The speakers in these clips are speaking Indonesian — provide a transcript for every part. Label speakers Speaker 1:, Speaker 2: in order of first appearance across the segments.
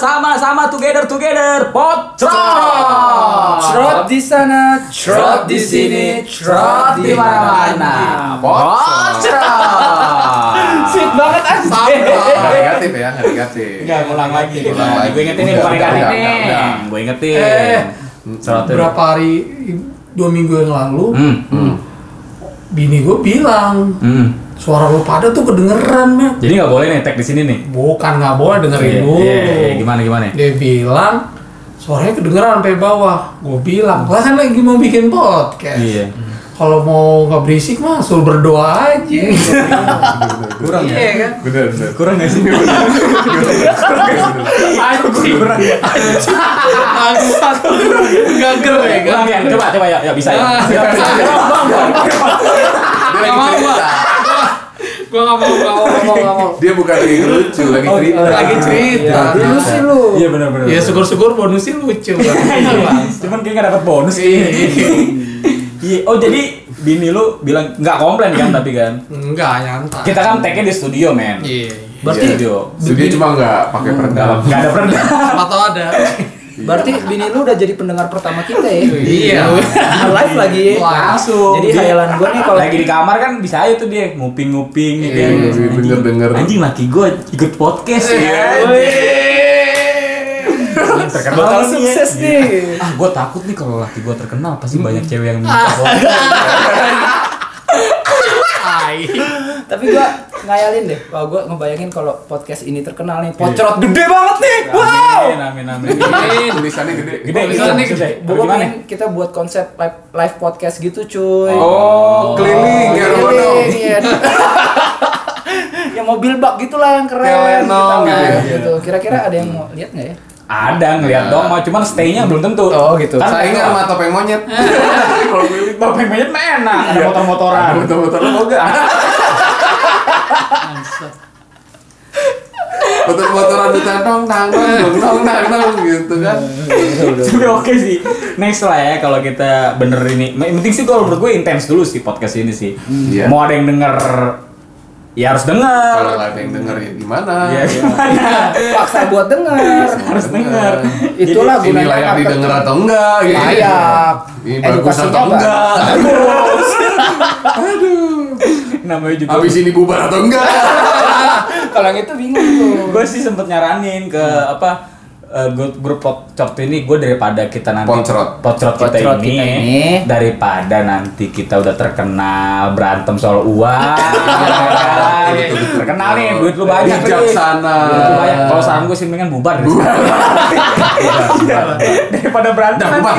Speaker 1: bersama Together Together Potrot.
Speaker 2: Trot di sana, trot di sini, trot di mana-mana.
Speaker 1: Potrot.
Speaker 2: Sweet banget anjing.
Speaker 3: Nggak negatif ya, nggak negatif.
Speaker 2: Enggak ulang lagi.
Speaker 3: Ulang lagi.
Speaker 1: gitu. Gue ingetin nih, gue
Speaker 3: Udah, udah,
Speaker 1: ingetin
Speaker 3: udah,
Speaker 1: nih.
Speaker 3: udah.
Speaker 1: Gue ingetin.
Speaker 4: Eh,
Speaker 1: Trot.
Speaker 4: berapa hari dua minggu yang lalu
Speaker 1: Hmm, hmm,
Speaker 4: bini gue bilang
Speaker 1: hmm.
Speaker 4: suara lu pada tuh kedengeran Mac.
Speaker 1: Jadi nggak boleh nih tag di sini nih.
Speaker 4: bukan nggak boleh dengerin
Speaker 1: Iya,
Speaker 4: dulu
Speaker 1: iya, iya. Gimana gimana?
Speaker 4: dia bilang suaranya kedengeran sampai bawah gue bilang lah kan lagi mau bikin podcast
Speaker 1: Iya.
Speaker 4: kalau mau nggak berisik mah suruh berdoa aja
Speaker 1: Iya, kan? Kurang
Speaker 4: iya
Speaker 1: ya.
Speaker 4: kan
Speaker 3: Bener, bener.
Speaker 1: Kurang nggak sih?
Speaker 4: anjing
Speaker 1: Kurang.
Speaker 4: bangsat nggak keren ya
Speaker 1: Kurang ya. Coba coba ya, ya bisa ya.
Speaker 4: Ah,
Speaker 1: Ya, bisa, ya.
Speaker 3: Dia
Speaker 4: Nggak
Speaker 3: lagi
Speaker 4: mau,
Speaker 3: cerita.
Speaker 4: gue nggak mau nggak mau nggak mau nggak mau
Speaker 3: Dia bukan lagi lucu, lagi
Speaker 1: Oh,
Speaker 3: cerita.
Speaker 4: lagi cerita
Speaker 2: Iya, lu sih lu.
Speaker 1: Iya benar-benar.
Speaker 4: ya syukur-syukur bonusnya lucu banget
Speaker 1: Cuman kayak gak dapet bonus
Speaker 4: Iya.
Speaker 1: Iya. Oh jadi bini lu bilang nggak komplain kan tapi kan?
Speaker 4: Enggak, nyantai.
Speaker 1: Kita kan tag di studio men.
Speaker 4: Iya.
Speaker 2: Berarti
Speaker 1: Studio.
Speaker 3: Studio cuma nggak pakai peredam.
Speaker 1: Dalam nggak ada pernah.
Speaker 4: Siapa tahu ada.
Speaker 2: berarti bini lu udah jadi pendengar pertama kita ya.
Speaker 4: Iya.
Speaker 2: Live lagi.
Speaker 1: Langsung.
Speaker 2: Jadi
Speaker 1: Dia-
Speaker 2: hayalan gue nih kalau
Speaker 1: Lagi di kamar kan bisa aja tuh dia nguping-nguping gitu
Speaker 3: Iya,
Speaker 1: kan.
Speaker 3: iya, iya,
Speaker 1: Anjing-
Speaker 3: denger-denger.
Speaker 1: Anjing laki gue ikut podcast
Speaker 4: Iya.
Speaker 1: ya. Terkenal
Speaker 2: bakal
Speaker 1: nih, ya.
Speaker 2: sukses
Speaker 1: Gitu.
Speaker 2: nih.
Speaker 1: Ah, gue takut nih kalau laki gue terkenal pasti banyak cewek yang minta.
Speaker 4: Tai.
Speaker 2: Tapi gue ngayalin deh. Wah gue ngebayangin kalau podcast ini terkenal
Speaker 3: Iya.
Speaker 2: nih. Pocrot gede banget nih. Wow.
Speaker 1: Amin, amin, amin.
Speaker 3: Iya, Tulisannya gede.
Speaker 1: Gede,
Speaker 4: Bisa
Speaker 1: gede,
Speaker 4: nih,
Speaker 1: gede.
Speaker 2: Gue
Speaker 1: Gimana?
Speaker 2: pengen kita buat konsep live, live podcast gitu cuy.
Speaker 3: Oh, keliling ya
Speaker 2: Keliling,
Speaker 3: Rono.
Speaker 2: iya. yang mobil bak gitulah yang keren
Speaker 3: Telenong
Speaker 2: kita
Speaker 3: gitu
Speaker 2: live
Speaker 3: ya. Hmm.
Speaker 2: gitu. Kira-kira ada yang mau lihat nggak ya?
Speaker 1: Ada ngeliat
Speaker 3: Nah.
Speaker 1: dong, mau cuman stay-nya belum tentu.
Speaker 2: Oh, gitu.
Speaker 1: Kan
Speaker 3: Saingan sama topeng monyet. Kalau milih
Speaker 1: Bapak yang banyak mah enak, ada motor-motoran.
Speaker 3: motor-motor lo mau nggak? Motor-motoran di tantong, tantong, tantong, tantong gitu kan.
Speaker 2: Iya.
Speaker 1: Tapi oke sih. Next lah ya kalau kita bener ini. Yang penting sih kalau menurut gue intens dulu sih podcast ini sih.
Speaker 2: Hmm.
Speaker 3: Iya.
Speaker 1: Mau ada yang denger ya harus denger.
Speaker 3: Kalau nggak ada yang denger ya gimana?
Speaker 1: Ya gimana?
Speaker 2: Paksa buat denger.
Speaker 1: harus denger.
Speaker 2: Itulah
Speaker 3: Ini
Speaker 2: gunanya
Speaker 3: layak
Speaker 2: apa?
Speaker 3: didengar atau enggak? gitu.
Speaker 2: Layak.
Speaker 3: Ini bagus
Speaker 2: Edukasinya
Speaker 3: atau enggak?
Speaker 2: bagus.
Speaker 1: Namanya juga
Speaker 3: Habis ini bubar atau enggak?
Speaker 1: Iya,
Speaker 2: Kalau yang itu bingung tuh.
Speaker 1: gue sih sempet nyaranin ke
Speaker 2: Hmm.
Speaker 1: apa eh, grup grup pocot ini gue daripada kita nanti
Speaker 3: Pocrot.
Speaker 1: pocrot kita,
Speaker 2: Pocrot
Speaker 1: ini,
Speaker 2: kita ini.
Speaker 1: daripada nanti kita udah terkenal berantem soal uang ya kan?
Speaker 3: Betul, betul.
Speaker 1: terkenal nih duit
Speaker 3: Iya,
Speaker 1: lu banyak
Speaker 3: Bijaksana.
Speaker 1: nih. Duit lu banyak kalau saran gue sih mendingan bubar dari sekarang. daripada berantem
Speaker 3: Dah, bubar.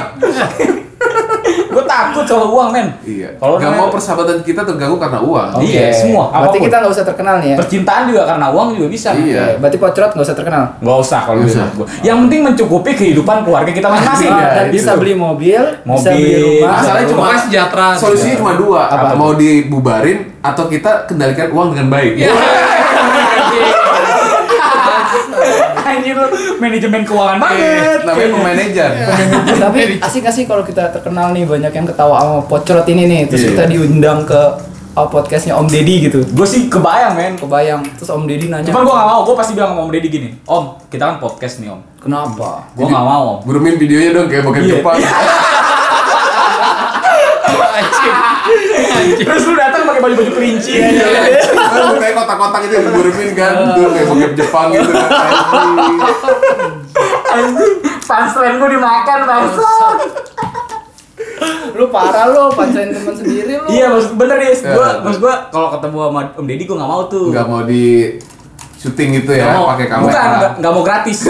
Speaker 1: gue takut soal uang men
Speaker 3: Iya.
Speaker 1: kalau
Speaker 3: Gak
Speaker 1: namanya-
Speaker 3: mau persahabatan kita terganggu karena
Speaker 1: Oh.
Speaker 3: uang.
Speaker 1: Iya, semua,
Speaker 2: Berarti
Speaker 1: apapun.
Speaker 2: kita nggak usah terkenal nih ya.
Speaker 1: percintaan juga karena uang juga bisa
Speaker 3: Iya.
Speaker 2: Oke, Berarti pocrot nggak usah terkenal.
Speaker 1: Gak usah kalau
Speaker 3: Nggak
Speaker 1: gitu
Speaker 3: usah.
Speaker 1: gua. Yang penting mencukupi kehidupan keluarga kita masing-masing.
Speaker 2: Ah,
Speaker 3: Iya,
Speaker 2: dan
Speaker 3: itu.
Speaker 2: bisa beli mobil, bisa beli
Speaker 1: Mobil.
Speaker 2: rumah.
Speaker 3: Masalahnya cuma
Speaker 4: Rumah sejahtera.
Speaker 3: Solusinya cuma dua,
Speaker 1: iya. Apa?
Speaker 3: mau dibubarin atau kita kendalikan uang dengan baik.
Speaker 1: Iya. Anjir lu manajemen keuangan banget.
Speaker 3: Namanya pemanajer.
Speaker 2: Iya. Tapi asik asik kalau kita terkenal nih banyak yang ketawa sama pocrot ini nih. Terus
Speaker 3: Iya.
Speaker 2: kita diundang ke uh, podcastnya Om Deddy gitu.
Speaker 1: Gue sih kebayang men.
Speaker 2: Kebayang. Terus Om Deddy nanya.
Speaker 1: Cuman gue gak mau, gue pasti bilang sama Om Deddy gini Om, kita kan podcast nih Om
Speaker 2: Kenapa?
Speaker 1: Gue gak mau Om
Speaker 3: Gurumin videonya dong kayak bokep
Speaker 1: Iya.
Speaker 3: Jepang.
Speaker 1: Terus lu datang pakai baju-baju kelinci iya.
Speaker 3: Kan kayak kotak-kotak itu yang digurumin kan,
Speaker 1: Ah.
Speaker 3: dulu kayak bokep Jepang gitu kan.
Speaker 1: Iya.
Speaker 3: Anjing.
Speaker 1: Sunscreen gue dimakan bangsa
Speaker 2: Lu parah lu, pacarin teman sendiri lu.
Speaker 1: Iya maksud bener ya Gue,
Speaker 3: Ya.
Speaker 1: maksud gue kalau ketemu sama Om Deddy gue gak mau ya, tuh
Speaker 3: Nggak mau di syuting gitu
Speaker 1: Nggak
Speaker 3: ya,
Speaker 1: mau.
Speaker 3: pakai
Speaker 1: Bukan, nggak-
Speaker 3: kamera.
Speaker 1: nggak mau gratis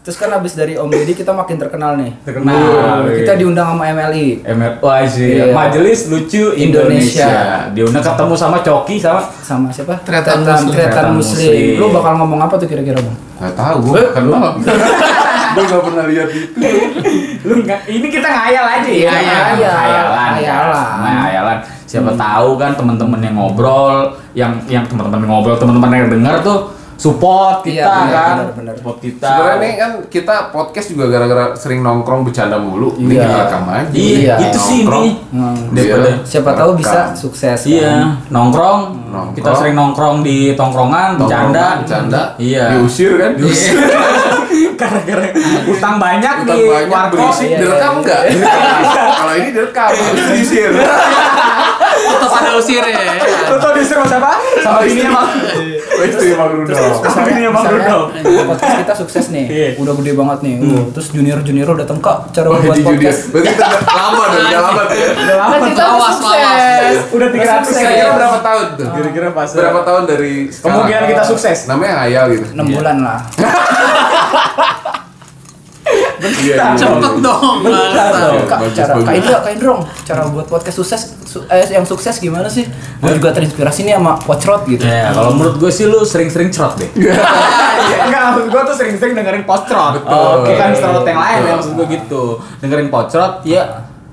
Speaker 2: Terus kan abis dari Om Deddy kita makin terkenal nih. Nah,
Speaker 1: Terkenal
Speaker 2: Kita diundang sama MLI.
Speaker 1: MFY sih.
Speaker 2: Iya.
Speaker 1: Majelis Lucu Indonesia.
Speaker 2: Indonesia.
Speaker 1: Dia udah ketemu sama Coki sama
Speaker 2: Sama siapa?
Speaker 4: Tretan
Speaker 2: Tretan
Speaker 4: Muslim.
Speaker 2: Tretan
Speaker 1: Tretan
Speaker 2: Muslim.
Speaker 1: Muslim.
Speaker 2: Lu bakal ngomong apa tuh kira-kira, Bang?
Speaker 3: Nggak tahu, gue
Speaker 1: Eh.
Speaker 3: kan lo. Gue nggak pernah lihat itu.
Speaker 1: lu nggak ini kita ngayal aja ya
Speaker 2: Iya,
Speaker 1: kan?
Speaker 2: iya.
Speaker 1: Khayalan,
Speaker 2: Khayalan.
Speaker 1: Nah, khayalan. siapa tahu kan teman-teman yang ngobrol yang yang teman-teman yang ngobrol teman-teman yang dengar tuh support kita
Speaker 2: Iya, benar,
Speaker 1: kan
Speaker 2: benar, benar.
Speaker 1: support kita Iya.
Speaker 3: Sebenarnya nih kan kita podcast juga gara-gara sering nongkrong bercanda mulu. Ini
Speaker 2: Iya.
Speaker 3: kita rekam aja.
Speaker 1: iya,
Speaker 2: Iya,
Speaker 1: itu sih
Speaker 3: Nongkrong.
Speaker 1: ini daripada
Speaker 3: Iya.
Speaker 2: Siapa tahu bisa
Speaker 3: Rekam.
Speaker 2: sukses. kan?
Speaker 1: iya nongkrong,
Speaker 3: Nongkrong.
Speaker 1: kita sering nongkrong di tongkrongan bercanda
Speaker 3: Nongkrong, bercanda.
Speaker 1: iya
Speaker 3: Diusir kan? Diusir.
Speaker 1: karena karena utang banyak
Speaker 3: Utang
Speaker 1: di
Speaker 3: banyak
Speaker 1: warkop.
Speaker 3: berisi
Speaker 2: Iya,
Speaker 3: direkam
Speaker 2: iya.
Speaker 3: enggak? Kalau ini direkam,
Speaker 1: Iya.
Speaker 3: habis diusir.
Speaker 4: Tetap ada usir ya.
Speaker 1: Lu tau disuruh sama siapa? Sama ini emang
Speaker 3: Oh, itu ya Bang Rudo.
Speaker 1: Sama ini emang
Speaker 2: Misalnya,
Speaker 1: Bruno
Speaker 2: podcast kita sukses nih,
Speaker 1: Iya.
Speaker 2: udah gede banget nih. Uh, Terus junior-junior udah tengkak cara
Speaker 3: Oh,
Speaker 2: buat
Speaker 3: di junior.
Speaker 2: podcast.
Speaker 3: Berarti kita udah lama dong, udah lama tuh ya.
Speaker 1: Udah lama
Speaker 2: Kan
Speaker 1: tuh
Speaker 2: kita udah
Speaker 4: Lawas,
Speaker 2: sukses.
Speaker 1: Udah 300
Speaker 2: sukses.
Speaker 3: Kira-kira berapa tahun tuh?
Speaker 1: Kira-kira pas
Speaker 3: Berapa tahun dari sekarang?
Speaker 1: Ah. Kemungkinan kita sukses
Speaker 3: Namanya Hayal gitu.
Speaker 2: 6 bulan lah.
Speaker 3: Iya, iya,
Speaker 4: Cepet
Speaker 3: iya.
Speaker 4: dong. masa.
Speaker 3: dong.
Speaker 2: Kak,
Speaker 3: bagus,
Speaker 2: cara
Speaker 3: bagus.
Speaker 2: Kak Indra, Kak Indrong, cara buat podcast sukses su- eh, yang sukses gimana sih? Gue juga terinspirasi nih sama Pocrot gitu.
Speaker 1: Ya,
Speaker 3: Iya.
Speaker 1: kalau menurut gue sih lu sering-sering cerot deh. Enggak, maksud gue tuh sering-sering dengerin postrot.
Speaker 3: Betul. Iya.
Speaker 1: Oke. Bukan cerot yang lain,
Speaker 3: Betul.
Speaker 1: ya, maksud gue gitu. Dengerin postrot, ya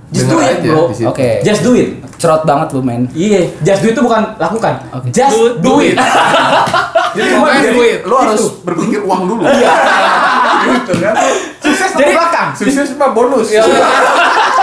Speaker 1: just do
Speaker 3: Denger
Speaker 1: it,
Speaker 3: aja
Speaker 1: bro.
Speaker 3: di situ.
Speaker 2: Oke.
Speaker 1: Just do it.
Speaker 2: Cerot banget lu men.
Speaker 1: Iya, just do it itu bukan lakukan.
Speaker 2: Oke.
Speaker 1: Just
Speaker 4: Do-
Speaker 1: do, it.
Speaker 3: Jadi
Speaker 4: Cuma
Speaker 3: kemarin
Speaker 4: duit.
Speaker 3: lu harus berpikir uang dulu.
Speaker 1: Iya.
Speaker 3: Gitu kan?
Speaker 1: Sukses dari belakang.
Speaker 3: Sukses mah bonus.
Speaker 1: Iya.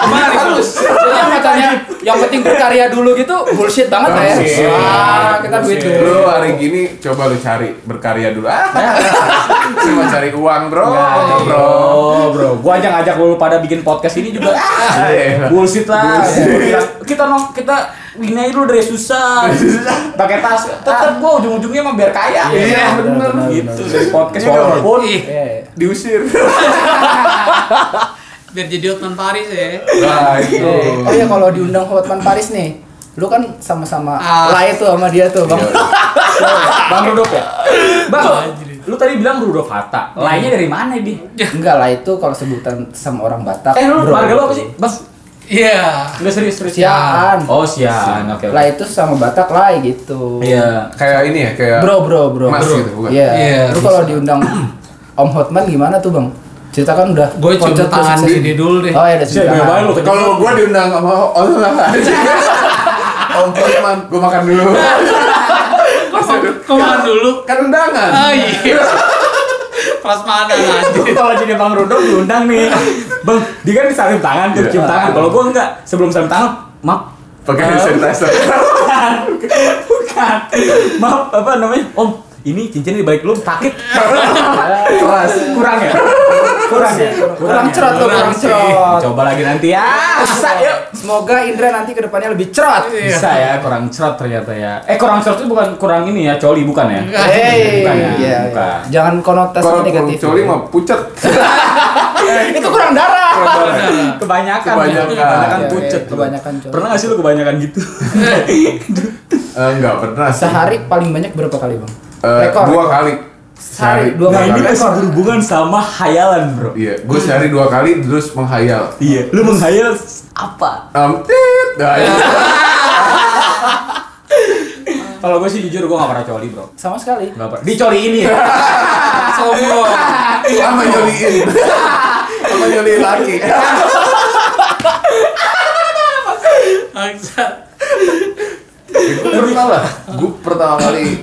Speaker 2: Harus. Jadi yang katanya yang penting berkarya dulu gitu bullshit banget lah ya.
Speaker 3: Bullshit.
Speaker 2: Wah, kita duit
Speaker 1: Bullshit.
Speaker 2: dulu.
Speaker 3: Lu hari gini coba lu cari berkarya dulu. Ah,
Speaker 2: Nah.
Speaker 3: cuma cari uang, Bro. Oh,
Speaker 2: iya.
Speaker 3: Bro.
Speaker 1: Bro, bro, gua aja ngajak lu pada bikin podcast ini juga ah,
Speaker 3: Iya.
Speaker 1: bullshit lah.
Speaker 3: Bullshit.
Speaker 1: Kita nong kita ini aja dulu dari susah. Pakai tas, tetep gua ujung-ujungnya emang biar kaya.
Speaker 3: Iya, bener.
Speaker 1: Gitu dari podcast
Speaker 3: Iya, dong.
Speaker 1: walaupun
Speaker 4: Ih,
Speaker 2: Iya, iya.
Speaker 3: Diusir.
Speaker 4: biar jadi Otman Paris ya.
Speaker 3: Nah, itu.
Speaker 2: Oh iya kalau diundang Hotman Paris nih, lu kan sama-sama
Speaker 4: Ah.
Speaker 2: lain tuh sama dia tuh, Bang.
Speaker 3: Iya.
Speaker 1: Bang Rudolf ya. Bang, lu tadi bilang Rudolf Hatta. Lainnya dari mana dia?
Speaker 2: Enggak lah itu kalau sebutan sama orang Batak.
Speaker 1: Eh,
Speaker 2: Iya.
Speaker 1: lu
Speaker 2: bro.
Speaker 1: warga lu apa sih? Bang,
Speaker 4: Iya.
Speaker 1: enggak serius serius.
Speaker 2: Siaan.
Speaker 1: Oh, sian. Oke. oke.
Speaker 2: Lah itu sama Batak lah gitu.
Speaker 1: Iya.
Speaker 3: Kayak ini ya, kayak
Speaker 2: Bro, bro, bro.
Speaker 3: Mas
Speaker 2: Bro.
Speaker 3: gitu, bukan?
Speaker 2: Iya.
Speaker 4: Iya,
Speaker 2: Lu
Speaker 4: bisa.
Speaker 2: kalau diundang Om Hotman gimana tuh, Bang? Cerita kan udah
Speaker 4: Gue cium
Speaker 2: Pocot tuh
Speaker 4: tangan
Speaker 2: sukses.
Speaker 4: Didi dulu deh.
Speaker 2: Oh, ya udah
Speaker 1: Siapa
Speaker 2: cium tangan.
Speaker 1: lu?
Speaker 3: Kalau gua diundang sama Om Om Putman, gua makan dulu.
Speaker 4: Kau makan dulu.
Speaker 3: Kan undangan.
Speaker 4: Ah iya. Prasmanan aja.
Speaker 1: Kalau jadi Bang Rudolf diundang nih. Bang, dia kan disalim tangan tuh,
Speaker 3: Iya.
Speaker 1: cium tangan. Kalau gua enggak, sebelum salim tangan, maaf.
Speaker 3: Pakai
Speaker 1: Eh,
Speaker 3: sanitizer.
Speaker 1: Bukan. Maaf, apa namanya? Om, ini cincinnya di balik lu sakit.
Speaker 3: Keras.
Speaker 1: Kurang ya? Kurang ya?
Speaker 2: Iya, Kurang
Speaker 1: ya?
Speaker 2: cerot lu, kurang
Speaker 4: Kurang sih.
Speaker 2: cerot. Ah,
Speaker 1: Coba lagi nanti ya. Bisa yuk.
Speaker 2: Semoga Indra nanti kedepannya lebih cerot.
Speaker 1: Bisa ya, kurang cerot ternyata ya. Eh, kurang cerot itu bukan kurang ini ya, coli bukan ya?
Speaker 4: Enggak.
Speaker 2: Hei,
Speaker 1: Bukan ya,
Speaker 2: iya, iya.
Speaker 1: bukan.
Speaker 2: jangan konotasi
Speaker 3: Kalau
Speaker 2: negatif.
Speaker 3: coli mah pucet.
Speaker 2: Itu kurang darah.
Speaker 1: Kebanyakan, ya.
Speaker 3: Kebanyakan.
Speaker 1: kebanyakan
Speaker 2: Iya,
Speaker 1: pucet.
Speaker 2: iya, kebanyakan coli.
Speaker 1: Pernah gak sih lu kebanyakan gitu?
Speaker 3: Eh, Enggak pernah sih.
Speaker 2: Sehari paling banyak berapa kali, Bang?
Speaker 3: Eh,
Speaker 2: Rekor.
Speaker 3: dua kali.
Speaker 2: Sehari dua
Speaker 1: nah
Speaker 2: kali.
Speaker 1: ini masih berhubungan sama hayalan bro.
Speaker 3: Iya, gue sehari dua kali terus menghayal.
Speaker 1: Iya, lu menghayal s- apa?
Speaker 3: Um, tit. Nah, itu.
Speaker 1: Kalau gue sih jujur gue gak pernah coli bro.
Speaker 2: Sama sekali.
Speaker 1: Gak pernah. Dicoli ini ya.
Speaker 4: Sombong.
Speaker 3: Sama nyoliin. Sama nyoliin laki.
Speaker 4: Bangsat.
Speaker 3: Gue pernah lah. Gue pertama kali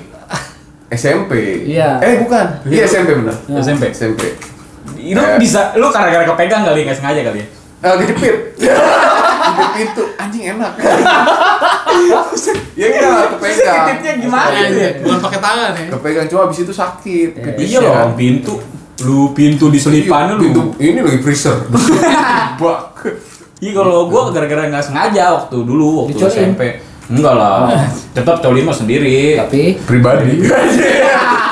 Speaker 3: SMP.
Speaker 2: Iya.
Speaker 3: Eh bukan. Iya SMP benar.
Speaker 1: SMP.
Speaker 3: SMP.
Speaker 1: Lu bisa, lu karena-karena kepegang kali nggak sengaja kali ya.
Speaker 3: Eh kejepit. Kejepit itu anjing enak. ya enggak lah, kepegang.
Speaker 1: Kejepitnya gimana
Speaker 4: Anjing,
Speaker 1: itu ya?
Speaker 4: Bukan pakai tangan ya.
Speaker 3: Kepegang cuma abis itu sakit. pipis
Speaker 1: Iya
Speaker 3: ya.
Speaker 1: loh, pintu. Lu pintu di selipan
Speaker 3: Pintu-
Speaker 1: lu.
Speaker 3: Ini lagi freezer. Bak.
Speaker 1: Iya kalau gue gara-gara nggak sengaja waktu dulu waktu
Speaker 2: Dicoliin.
Speaker 1: SMP. Enggak lah, tetap coli mah sendiri.
Speaker 2: Tapi
Speaker 3: pribadi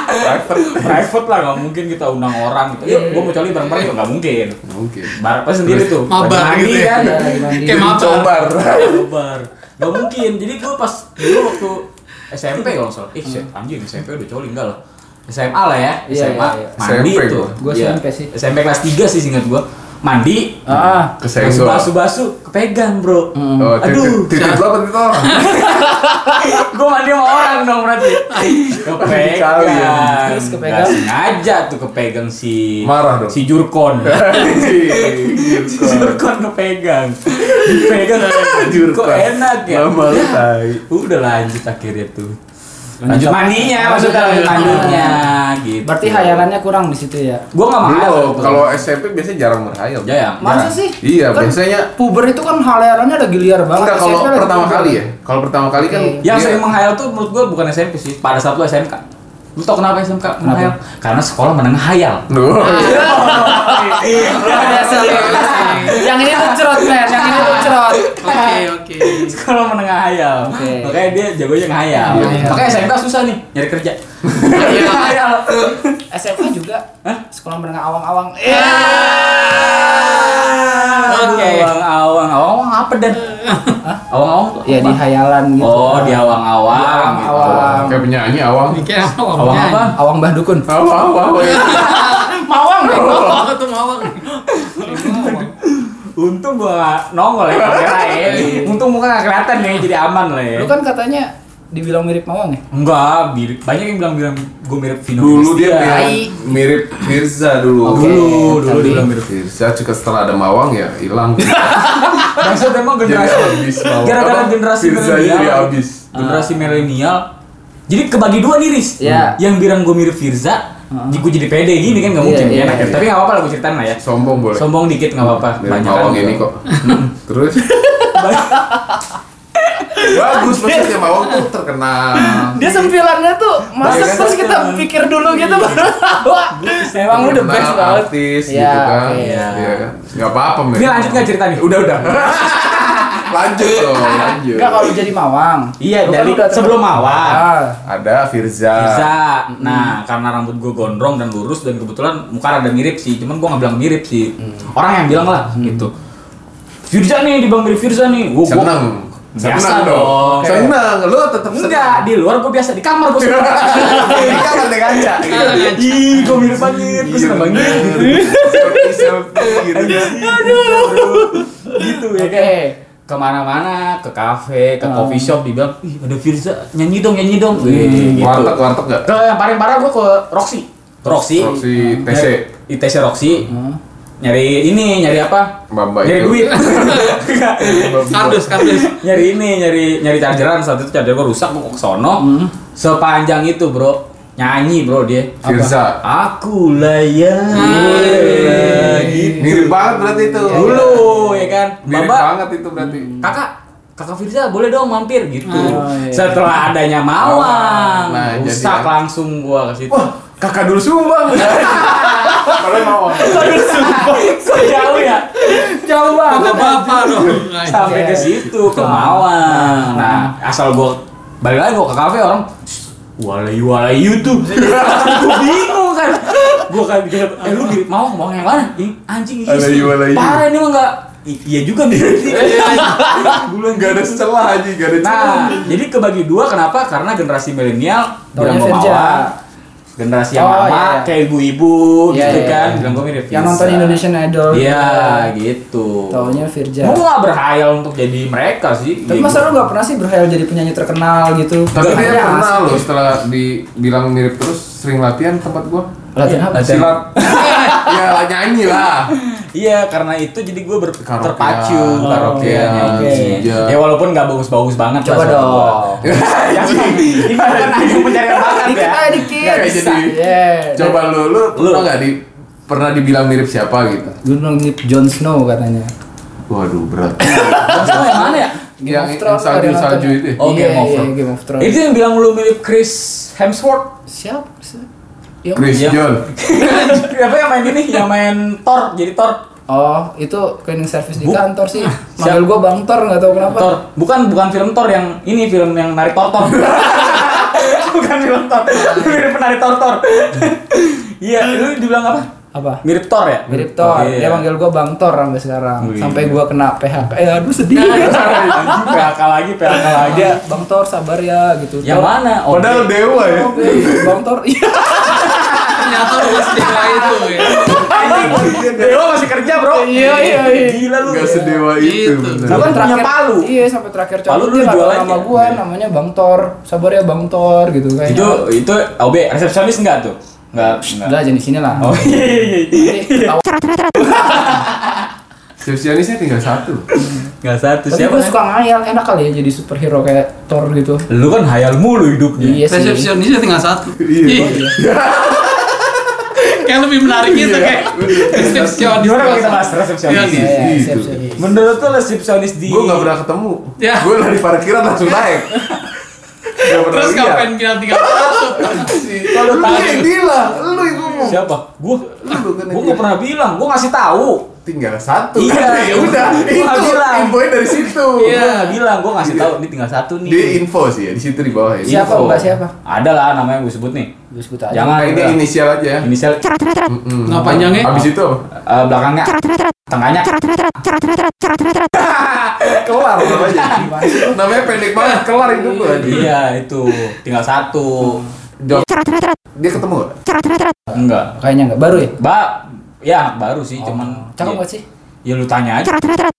Speaker 3: private
Speaker 1: private lah nggak mungkin kita undang orang gitu yuk gue mau coli bareng bareng nggak mungkin
Speaker 3: mungkin
Speaker 1: bar apa sendiri tuh
Speaker 4: Mabar
Speaker 1: Lagi mandi
Speaker 4: gitu ya.
Speaker 1: kan
Speaker 2: Iya, lagi mandi.
Speaker 4: Kayak mabar.
Speaker 3: cobar
Speaker 1: mabar nggak mungkin jadi gue pas dulu waktu SMP kalau nggak salah ih se- anjing SMP udah coli enggak lah SMA lah ya
Speaker 2: Hmm. Iya,
Speaker 1: SMA
Speaker 2: iya, iya.
Speaker 1: mandi
Speaker 3: SMP
Speaker 1: tuh
Speaker 2: gua. Gua
Speaker 1: Iya.
Speaker 2: SMP sih.
Speaker 1: SMP kelas 3 sih singkat gue mandi
Speaker 2: ah,
Speaker 1: basu
Speaker 3: kesenggol
Speaker 1: basu basu kepegang bro
Speaker 2: Hmm.
Speaker 3: oh,
Speaker 1: Aduh.
Speaker 3: aduh titik lu apa titik orang
Speaker 1: gue mandi sama orang dong berarti kepegang
Speaker 3: Dikali ya.
Speaker 2: Terus kepegang.
Speaker 1: Nggak sengaja tuh kepegang si
Speaker 3: Marah dong.
Speaker 1: si jurkon si jurkon kepegang dipegang kok enak ya
Speaker 3: lama lu tai
Speaker 1: udah lanjut akhirnya tuh lanjut mandinya maksudnya lanjut mandinya gitu
Speaker 2: Berarti hayalannya kurang di situ ya.
Speaker 1: gue nggak mahal
Speaker 3: Belum, kalau SMP biasanya jarang berhayal.
Speaker 1: ya
Speaker 2: Masa sih?
Speaker 3: Iya,
Speaker 2: Kan
Speaker 3: biasanya-
Speaker 2: puber itu kan hayalannya lagi liar banget.
Speaker 3: Enggak kalau
Speaker 2: SMP lagi
Speaker 3: pertama
Speaker 2: puber.
Speaker 3: kali ya. Kalau pertama kali kan
Speaker 2: Oke.
Speaker 1: yang
Speaker 3: dia-
Speaker 1: Ya, sering menghayal tuh menurut gue bukan SMP sih pada saat lu SMK lu tau kenapa SMK menghayal karena sekolah menengah hayal
Speaker 3: Duh.
Speaker 2: Ada serius. iya, Yang ini tuh cerot, men. Yang ini tuh cerot.
Speaker 4: Oke, oke.
Speaker 1: sekolah menengah hayal
Speaker 2: Oke.
Speaker 1: makanya dia jagonya ngehayal
Speaker 4: Iya.
Speaker 1: makanya SMK susah nih nyari kerja
Speaker 4: Iya.
Speaker 1: Hayal.
Speaker 2: SMA juga. Sekolah menengah awang-awang. Eh.
Speaker 1: Oke. Awang-awang, awang-awang apa dan? Awang-awang tuh?
Speaker 2: Ya di
Speaker 1: apa?
Speaker 2: hayalan gitu.
Speaker 1: Oh, di
Speaker 2: Di
Speaker 1: awang-awang. gitu.
Speaker 2: awang-awang.
Speaker 3: Kayak penyanyi awang.
Speaker 4: Ini kayak apa?
Speaker 1: Awang apa?
Speaker 2: Awang Mbah Dukun.
Speaker 3: Awang, awang.
Speaker 2: Eh, Mawang, men.
Speaker 4: Apa tuh mawang?
Speaker 1: Untung gua nggak nongol ya kamera ya.
Speaker 3: Iya.
Speaker 1: Untung muka nggak kelihatan ya, jadi aman lah ya.
Speaker 2: Lu kan katanya dibilang mirip Mawang ya?
Speaker 1: Enggak, mirip- banyak yang bilang-bilang gua mirip Vino. ya.
Speaker 3: Dulu dia
Speaker 1: Christian.
Speaker 3: bilang mirip Firza dulu.
Speaker 2: Oke.
Speaker 1: Dulu, dulu
Speaker 2: Tapi-
Speaker 1: dia bilang mirip.
Speaker 3: Firza juga setelah ada Mawang ya hilang.
Speaker 1: Maksud emang
Speaker 3: Jadi
Speaker 1: generasi
Speaker 3: habis Mawang.
Speaker 1: gara-gara
Speaker 3: Apa?
Speaker 1: generasi
Speaker 3: Firza jadi
Speaker 1: milenial.
Speaker 3: habis. Ah.
Speaker 1: Generasi milenial. Jadi kebagi dua nih Riz.
Speaker 2: Iya.
Speaker 1: Yang bilang gua mirip Firza, gue jadi pede gini kan nggak
Speaker 2: Iya,
Speaker 1: mungkin
Speaker 2: Ah. iya,
Speaker 1: ya. Nah,
Speaker 2: iya.
Speaker 1: Tapi nggak apa-apa lah gue ceritain lah ya.
Speaker 3: Sombong boleh.
Speaker 1: Sombong dikit nggak apa-apa.
Speaker 3: Mirip
Speaker 1: kan
Speaker 3: Mawang ini kok. Terus bagus maksudnya Mawang tuh terkenal.
Speaker 2: Dia sempilannya tuh masuk
Speaker 3: Baik,
Speaker 2: terus
Speaker 3: kan?
Speaker 2: kita pikir dulu gitu baru tawa. Emang lu the
Speaker 3: Terkenal,
Speaker 2: best banget.
Speaker 3: Artis
Speaker 2: Iya,
Speaker 3: gitu kan.
Speaker 2: oke.
Speaker 3: Iya. kan? Enggak apa-apa, Mir.
Speaker 1: Ini lanjut nggak cerita nih?
Speaker 3: Udah, udah. lanjut dong, lanjut.
Speaker 2: Enggak kalau gitu. jadi Mawang.
Speaker 1: Iya
Speaker 2: Lu kan
Speaker 1: dari
Speaker 2: udah ter-
Speaker 1: sebelum awal.
Speaker 2: Ah.
Speaker 3: Ada Firza.
Speaker 1: Bisa. Nah, karena rambut gue gondrong dan lurus dan kebetulan muka rada mirip sih. Cuman gue nggak bilang mirip sih. Orang yang bilang lah gitu. Firza nih, dibilang mirip Firza nih. Gue
Speaker 3: Seneng.
Speaker 1: Biasa
Speaker 3: Seneng
Speaker 1: dong.
Speaker 3: dong. Seneng. Lu tetap
Speaker 1: Enggak, di luar gue biasa, di kamar gue suka.
Speaker 3: Ini kan ada kaca. gitu.
Speaker 4: Iya.
Speaker 1: Ih, gue mirip banget, gue seneng banget.
Speaker 3: Iya, Selfie selfie gitu.
Speaker 1: Gitu ya
Speaker 2: Oke.
Speaker 1: kan. Kemana-mana, ke kafe, ke
Speaker 2: Hmm.
Speaker 1: coffee shop, dibilang, ih ada Firza, nyanyi dong, nyanyi dong. Gitu.
Speaker 3: Warteg warteg nggak?
Speaker 1: Ke yang paling parah gue ke Roxy. Roxy.
Speaker 3: Roxy TC.
Speaker 1: Nyari- ITC Roxy. Nyari ini, nyari apa?
Speaker 3: Mbak-mbak
Speaker 1: nyari
Speaker 3: itu.
Speaker 1: duit.
Speaker 4: Kardus, kardus.
Speaker 1: nyari ini, nyari nyari chargeran saat itu charger gue rusak, gue ke sono. Sepanjang itu, Bro. Nyanyi, Bro, dia.
Speaker 3: Firza.
Speaker 1: Aku layak. Gitu. iya.
Speaker 3: Mirip banget berarti itu.
Speaker 1: Dulu ya kan.
Speaker 3: Mirip
Speaker 1: Bapak,
Speaker 3: banget itu berarti.
Speaker 1: Kakak, Kakak Firza boleh dong mampir gitu.
Speaker 2: Oh, iya.
Speaker 1: Setelah adanya Mawang,
Speaker 3: Nah, jadi
Speaker 1: rusak
Speaker 3: kan.
Speaker 1: langsung gua ke situ.
Speaker 3: kakak dulu sumbang. Kalau mau.
Speaker 1: Jauh ya.
Speaker 4: Apa
Speaker 1: Jauh banget.
Speaker 4: bapak dong? Iya.
Speaker 1: Sampai ke situ ke Mawang. Nah, asal gua balik lagi gua ke kafe orang Walayu walayu tuh, gua bingung kan, gua kan bilang, eh lu mirip mawang mawang yang mana? Ih, Anjing iya sih.
Speaker 3: Walayu, walayu.
Speaker 1: parah ini mah nggak, I- iya juga mirip sih.
Speaker 3: Gue nggak ada celah aja, nggak ada celah.
Speaker 1: Nah, jadi kebagi dua kenapa? Karena generasi milenial
Speaker 2: Taunya
Speaker 1: bilang gue
Speaker 2: Firza.
Speaker 1: mawar, generasi yang
Speaker 2: Oh,
Speaker 1: lama
Speaker 2: iya, iya.
Speaker 1: kayak ibu-ibu
Speaker 2: Iya,
Speaker 1: gitu
Speaker 2: iya,
Speaker 1: kan,
Speaker 2: iya.
Speaker 1: bilang gue mirip
Speaker 2: Yang
Speaker 1: Firza.
Speaker 2: nonton Indonesian Idol.
Speaker 1: Iya, gitu.
Speaker 2: Taunya Firja.
Speaker 1: Gue gak berhayal untuk jadi mereka sih.
Speaker 2: Tapi
Speaker 1: Gitu.
Speaker 2: masa lu gak pernah sih berhayal jadi penyanyi terkenal gitu?
Speaker 3: Tapi
Speaker 2: Gak
Speaker 3: dia
Speaker 2: ada.
Speaker 3: pernah loh setelah dibilang mirip terus sering latihan tempat gua.
Speaker 2: Latihan apa?
Speaker 1: Latihan.
Speaker 3: Silat.
Speaker 1: Eh.
Speaker 3: ya nyanyi lah.
Speaker 1: Iya, karena itu jadi gue ber-
Speaker 3: Karaokean,
Speaker 1: terpacu
Speaker 2: Oh,
Speaker 1: karaokean
Speaker 3: karaokean,
Speaker 1: nyanyi.
Speaker 3: iya.
Speaker 1: Ya walaupun gak bagus-bagus banget
Speaker 2: Coba
Speaker 1: lah suara
Speaker 2: dong.
Speaker 1: gua. Ini bukan hanya pencarian bakat
Speaker 2: Dikit
Speaker 1: ya.
Speaker 2: aja dikit.
Speaker 3: Nggak bisa.
Speaker 2: Yeah.
Speaker 3: Coba lu, lu
Speaker 1: Lu.
Speaker 3: pernah nggak di pernah dibilang mirip siapa gitu?
Speaker 2: Gue bilang mirip Jon Snow katanya.
Speaker 3: Waduh berat.
Speaker 1: Bangsa lo yang mana ya?
Speaker 2: Game
Speaker 3: yang
Speaker 2: of
Speaker 3: yang
Speaker 2: Thrones ada
Speaker 3: salju
Speaker 2: yang
Speaker 3: salju
Speaker 2: nonton.
Speaker 3: itu. ya?
Speaker 1: Oh,
Speaker 2: Iya,
Speaker 1: Game of
Speaker 2: iya,
Speaker 1: Thrones.
Speaker 2: Game of Thrones.
Speaker 1: Itu yang bilang lu mirip Chris Hemsworth.
Speaker 2: Siapa? sih? Yo.
Speaker 3: Chris
Speaker 1: Iya.
Speaker 3: John.
Speaker 1: Siapa yang main ini? Yang main Thor jadi Thor.
Speaker 2: Oh, itu cleaning service di
Speaker 1: Bu-
Speaker 2: kantor sih.
Speaker 1: Siap.
Speaker 2: Manggil gua Bang Tor nggak tahu kenapa.
Speaker 1: Thor. Bukan bukan film Thor yang ini film yang narik tortor. bukan film Thor. Mirip penari tortor. Iya, lu dibilang apa?
Speaker 2: Apa?
Speaker 1: Mirip Thor ya?
Speaker 2: Mirip Tor.
Speaker 1: Iya.
Speaker 2: Dia manggil gua Bang Tor sampai sekarang.
Speaker 1: Wih.
Speaker 2: Sampai gua kena PHK. Eh, aduh sedih.
Speaker 1: Iya, Anjing, PHK lagi, PHK lagi.
Speaker 2: Dia Bang Tor sabar ya gitu.
Speaker 1: Yang
Speaker 2: Tor,
Speaker 1: mana? Oh,
Speaker 3: Padahal dewa ya.
Speaker 2: oke. Bang Tor. Iya.
Speaker 4: Ternyata lu masih di bawah itu ya.
Speaker 1: Dewa masih kerja, Bro.
Speaker 2: Iya, iya, iya.
Speaker 1: Gila lu.
Speaker 3: Nggak sedewa itu.
Speaker 4: Gitu.
Speaker 1: Sampai-
Speaker 3: bener.
Speaker 1: Kan punya
Speaker 2: Terakhir-
Speaker 1: palu.
Speaker 2: Iya, sampai terakhir
Speaker 1: Palu
Speaker 2: cabut
Speaker 1: lu
Speaker 2: dia nggak tahu
Speaker 1: jualan
Speaker 2: nama
Speaker 1: ya?
Speaker 2: gua namanya Bang Tor. Sabar ya Bang Tor gitu kayaknya.
Speaker 1: Itu itu OB resepsionis enggak tuh? Oh, Enggak, enggak. iya.
Speaker 2: Udah jadi sini lah.
Speaker 1: Oh iya iya iya.
Speaker 2: Nanti ketahuan.
Speaker 3: Sisionisnya tinggal satu.
Speaker 1: Gak satu
Speaker 2: Tapi gue
Speaker 1: siapa? kan?
Speaker 2: suka ngayal, enak kali ya jadi superhero kayak Thor gitu.
Speaker 1: Lu kan hayal mulu hidupnya.
Speaker 2: Iya sih.
Speaker 4: Resepsionisnya tinggal satu.
Speaker 3: Iya.
Speaker 4: Kayak lebih menarik gitu kayak resepsionis.
Speaker 1: Iya. Gimana kalau kita
Speaker 4: tinggal
Speaker 1: bahas
Speaker 4: satu.
Speaker 1: resepsionis?
Speaker 4: Iya,
Speaker 2: Iya,
Speaker 3: Gitu.
Speaker 2: resepsionis.
Speaker 1: Menurut lu resepsionis di Ya.
Speaker 3: Gue nggak pernah ketemu.
Speaker 4: Ya.
Speaker 3: Gue dari parkiran langsung naik. Gak pernah
Speaker 1: Iya.
Speaker 4: Terus
Speaker 3: lihat.
Speaker 4: kapan kita tinggal satu?
Speaker 1: Kalau
Speaker 3: Lu
Speaker 1: tanya-
Speaker 3: yang bilang, lu yang ngomong.
Speaker 1: siapa? Gue
Speaker 3: Lu bukan
Speaker 1: gue
Speaker 3: yang
Speaker 1: nggak pernah bilang, gue ngasih tahu.
Speaker 3: tinggal satu.
Speaker 1: Iya.
Speaker 3: kan? ya udah.
Speaker 1: Gua
Speaker 3: Itu
Speaker 1: nggak bilang. Iya,
Speaker 3: infonya dari situ.
Speaker 1: Gue nggak bilang, gue ngasih
Speaker 3: Iya.
Speaker 1: tahu ini tinggal satu nih.
Speaker 3: Dia info sih ya di situ di bawah ya.
Speaker 2: Siapa
Speaker 3: Info.
Speaker 2: mbak siapa?
Speaker 1: Ada lah namanya gue sebut nih.
Speaker 2: Gue sebut aja.
Speaker 1: Jangan
Speaker 3: Nah, ini
Speaker 1: udah.
Speaker 3: inisial aja.
Speaker 1: inisial
Speaker 3: Mm-mm.
Speaker 4: Nah, panjangnya?
Speaker 3: Abis itu apa?
Speaker 1: eh, belakangnya, tengahnya.
Speaker 3: Kelar apa aja. Namanya pendek banget, kelar itu gue lagi.
Speaker 1: Iya itu tinggal satu.
Speaker 3: Jawab. Dia ketemu gak?
Speaker 1: Enggak.
Speaker 2: Kayaknya enggak baru ya?
Speaker 1: Mbak, ya baru sih, cuman
Speaker 2: Oh, Cakep
Speaker 1: ya,
Speaker 2: gak sih?
Speaker 1: Ya lu tanya aja.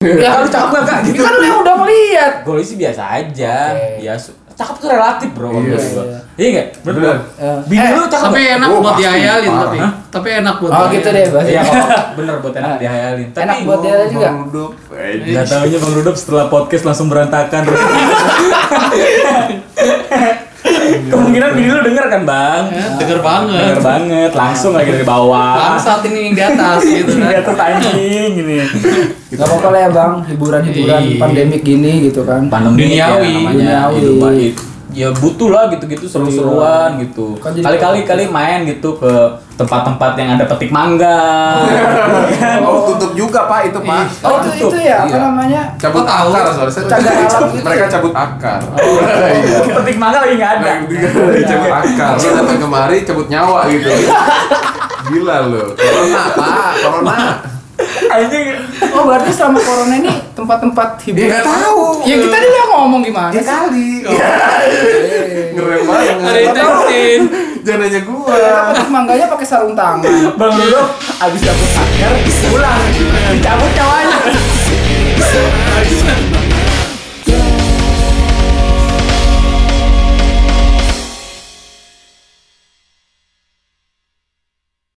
Speaker 2: Ya
Speaker 1: Kalau cakep gak Kak?
Speaker 2: Ini
Speaker 1: gitu.
Speaker 2: kan lu yang udah melihat.
Speaker 1: Gue sih biasa aja.
Speaker 2: Oke.
Speaker 1: Biasa. Cakep tuh relatif, Bro. kalau
Speaker 3: Iya.
Speaker 1: menurut gua. Iya enggak?
Speaker 3: Bener.
Speaker 1: Bini
Speaker 2: Eh,
Speaker 1: lu cakep.
Speaker 4: Tapi
Speaker 1: nggak?
Speaker 4: enak
Speaker 3: Oh,
Speaker 4: buat
Speaker 3: pasti,
Speaker 4: diayalin
Speaker 3: parah.
Speaker 4: tapi.
Speaker 1: Hah?
Speaker 4: Tapi enak buat
Speaker 2: Oh gitu deh bahasa.
Speaker 1: Iya, kalau bener buat enak dihayalin. Tapi
Speaker 2: Nah, Enak buat dia juga.
Speaker 3: Merudup.
Speaker 1: Gak taunya Bang Rudolf setelah podcast langsung berantakan. Kemungkinan bini lu denger kan, Bang?
Speaker 4: Eh, Denger banget.
Speaker 1: Denger banget, langsung lagi dari bawah.
Speaker 4: Bangsat ini yang di atas gitu
Speaker 1: Di
Speaker 4: kan.
Speaker 1: atas anjing gini.
Speaker 2: Gak apa-apa lah ya bang, hiburan-hiburan
Speaker 4: Iya.
Speaker 2: pandemik gini gitu kan
Speaker 1: Pandemi
Speaker 4: Duniawi.
Speaker 1: ya namanya.
Speaker 2: Duniawi.
Speaker 1: Hidup baik. Ya butuh lah gitu-gitu seru-seruan gitu.
Speaker 2: Kan jadi-
Speaker 1: Kali-kali kali main gitu ke tempat-tempat yang ada petik mangga.
Speaker 3: Oh, tutup juga Pak itu Pak.
Speaker 2: Oh itu, itu ya, apa
Speaker 1: Iya.
Speaker 2: namanya?
Speaker 3: Cabut
Speaker 4: Kok tahu?
Speaker 3: akar soalnya. Saya-
Speaker 2: Cabut alam gitu
Speaker 3: Mereka
Speaker 2: ya?
Speaker 3: cabut akar. Iya.
Speaker 1: petik mangga lagi nggak ada.
Speaker 3: Yang tiga kali cabut akar. Lu datang kemari cabut nyawa gitu. Gila lu. Corona Pak, corona.
Speaker 1: Anjing.
Speaker 2: Oh berarti selama corona ini tempat-tempat
Speaker 1: Iya,
Speaker 3: Dia
Speaker 2: hiburan
Speaker 1: kan?
Speaker 3: nggak tahu.
Speaker 2: Ya kita tadi udah ngomong gimana
Speaker 3: Ya
Speaker 2: sih?
Speaker 3: kali.
Speaker 4: Ada
Speaker 3: Ngerem banget.
Speaker 4: intensin.
Speaker 3: Jangan nanya gua.
Speaker 2: Petik mangganya pakai sarung tangan
Speaker 1: Bang Rudolf abis dapet akar pulang. Dicabut nyawanya.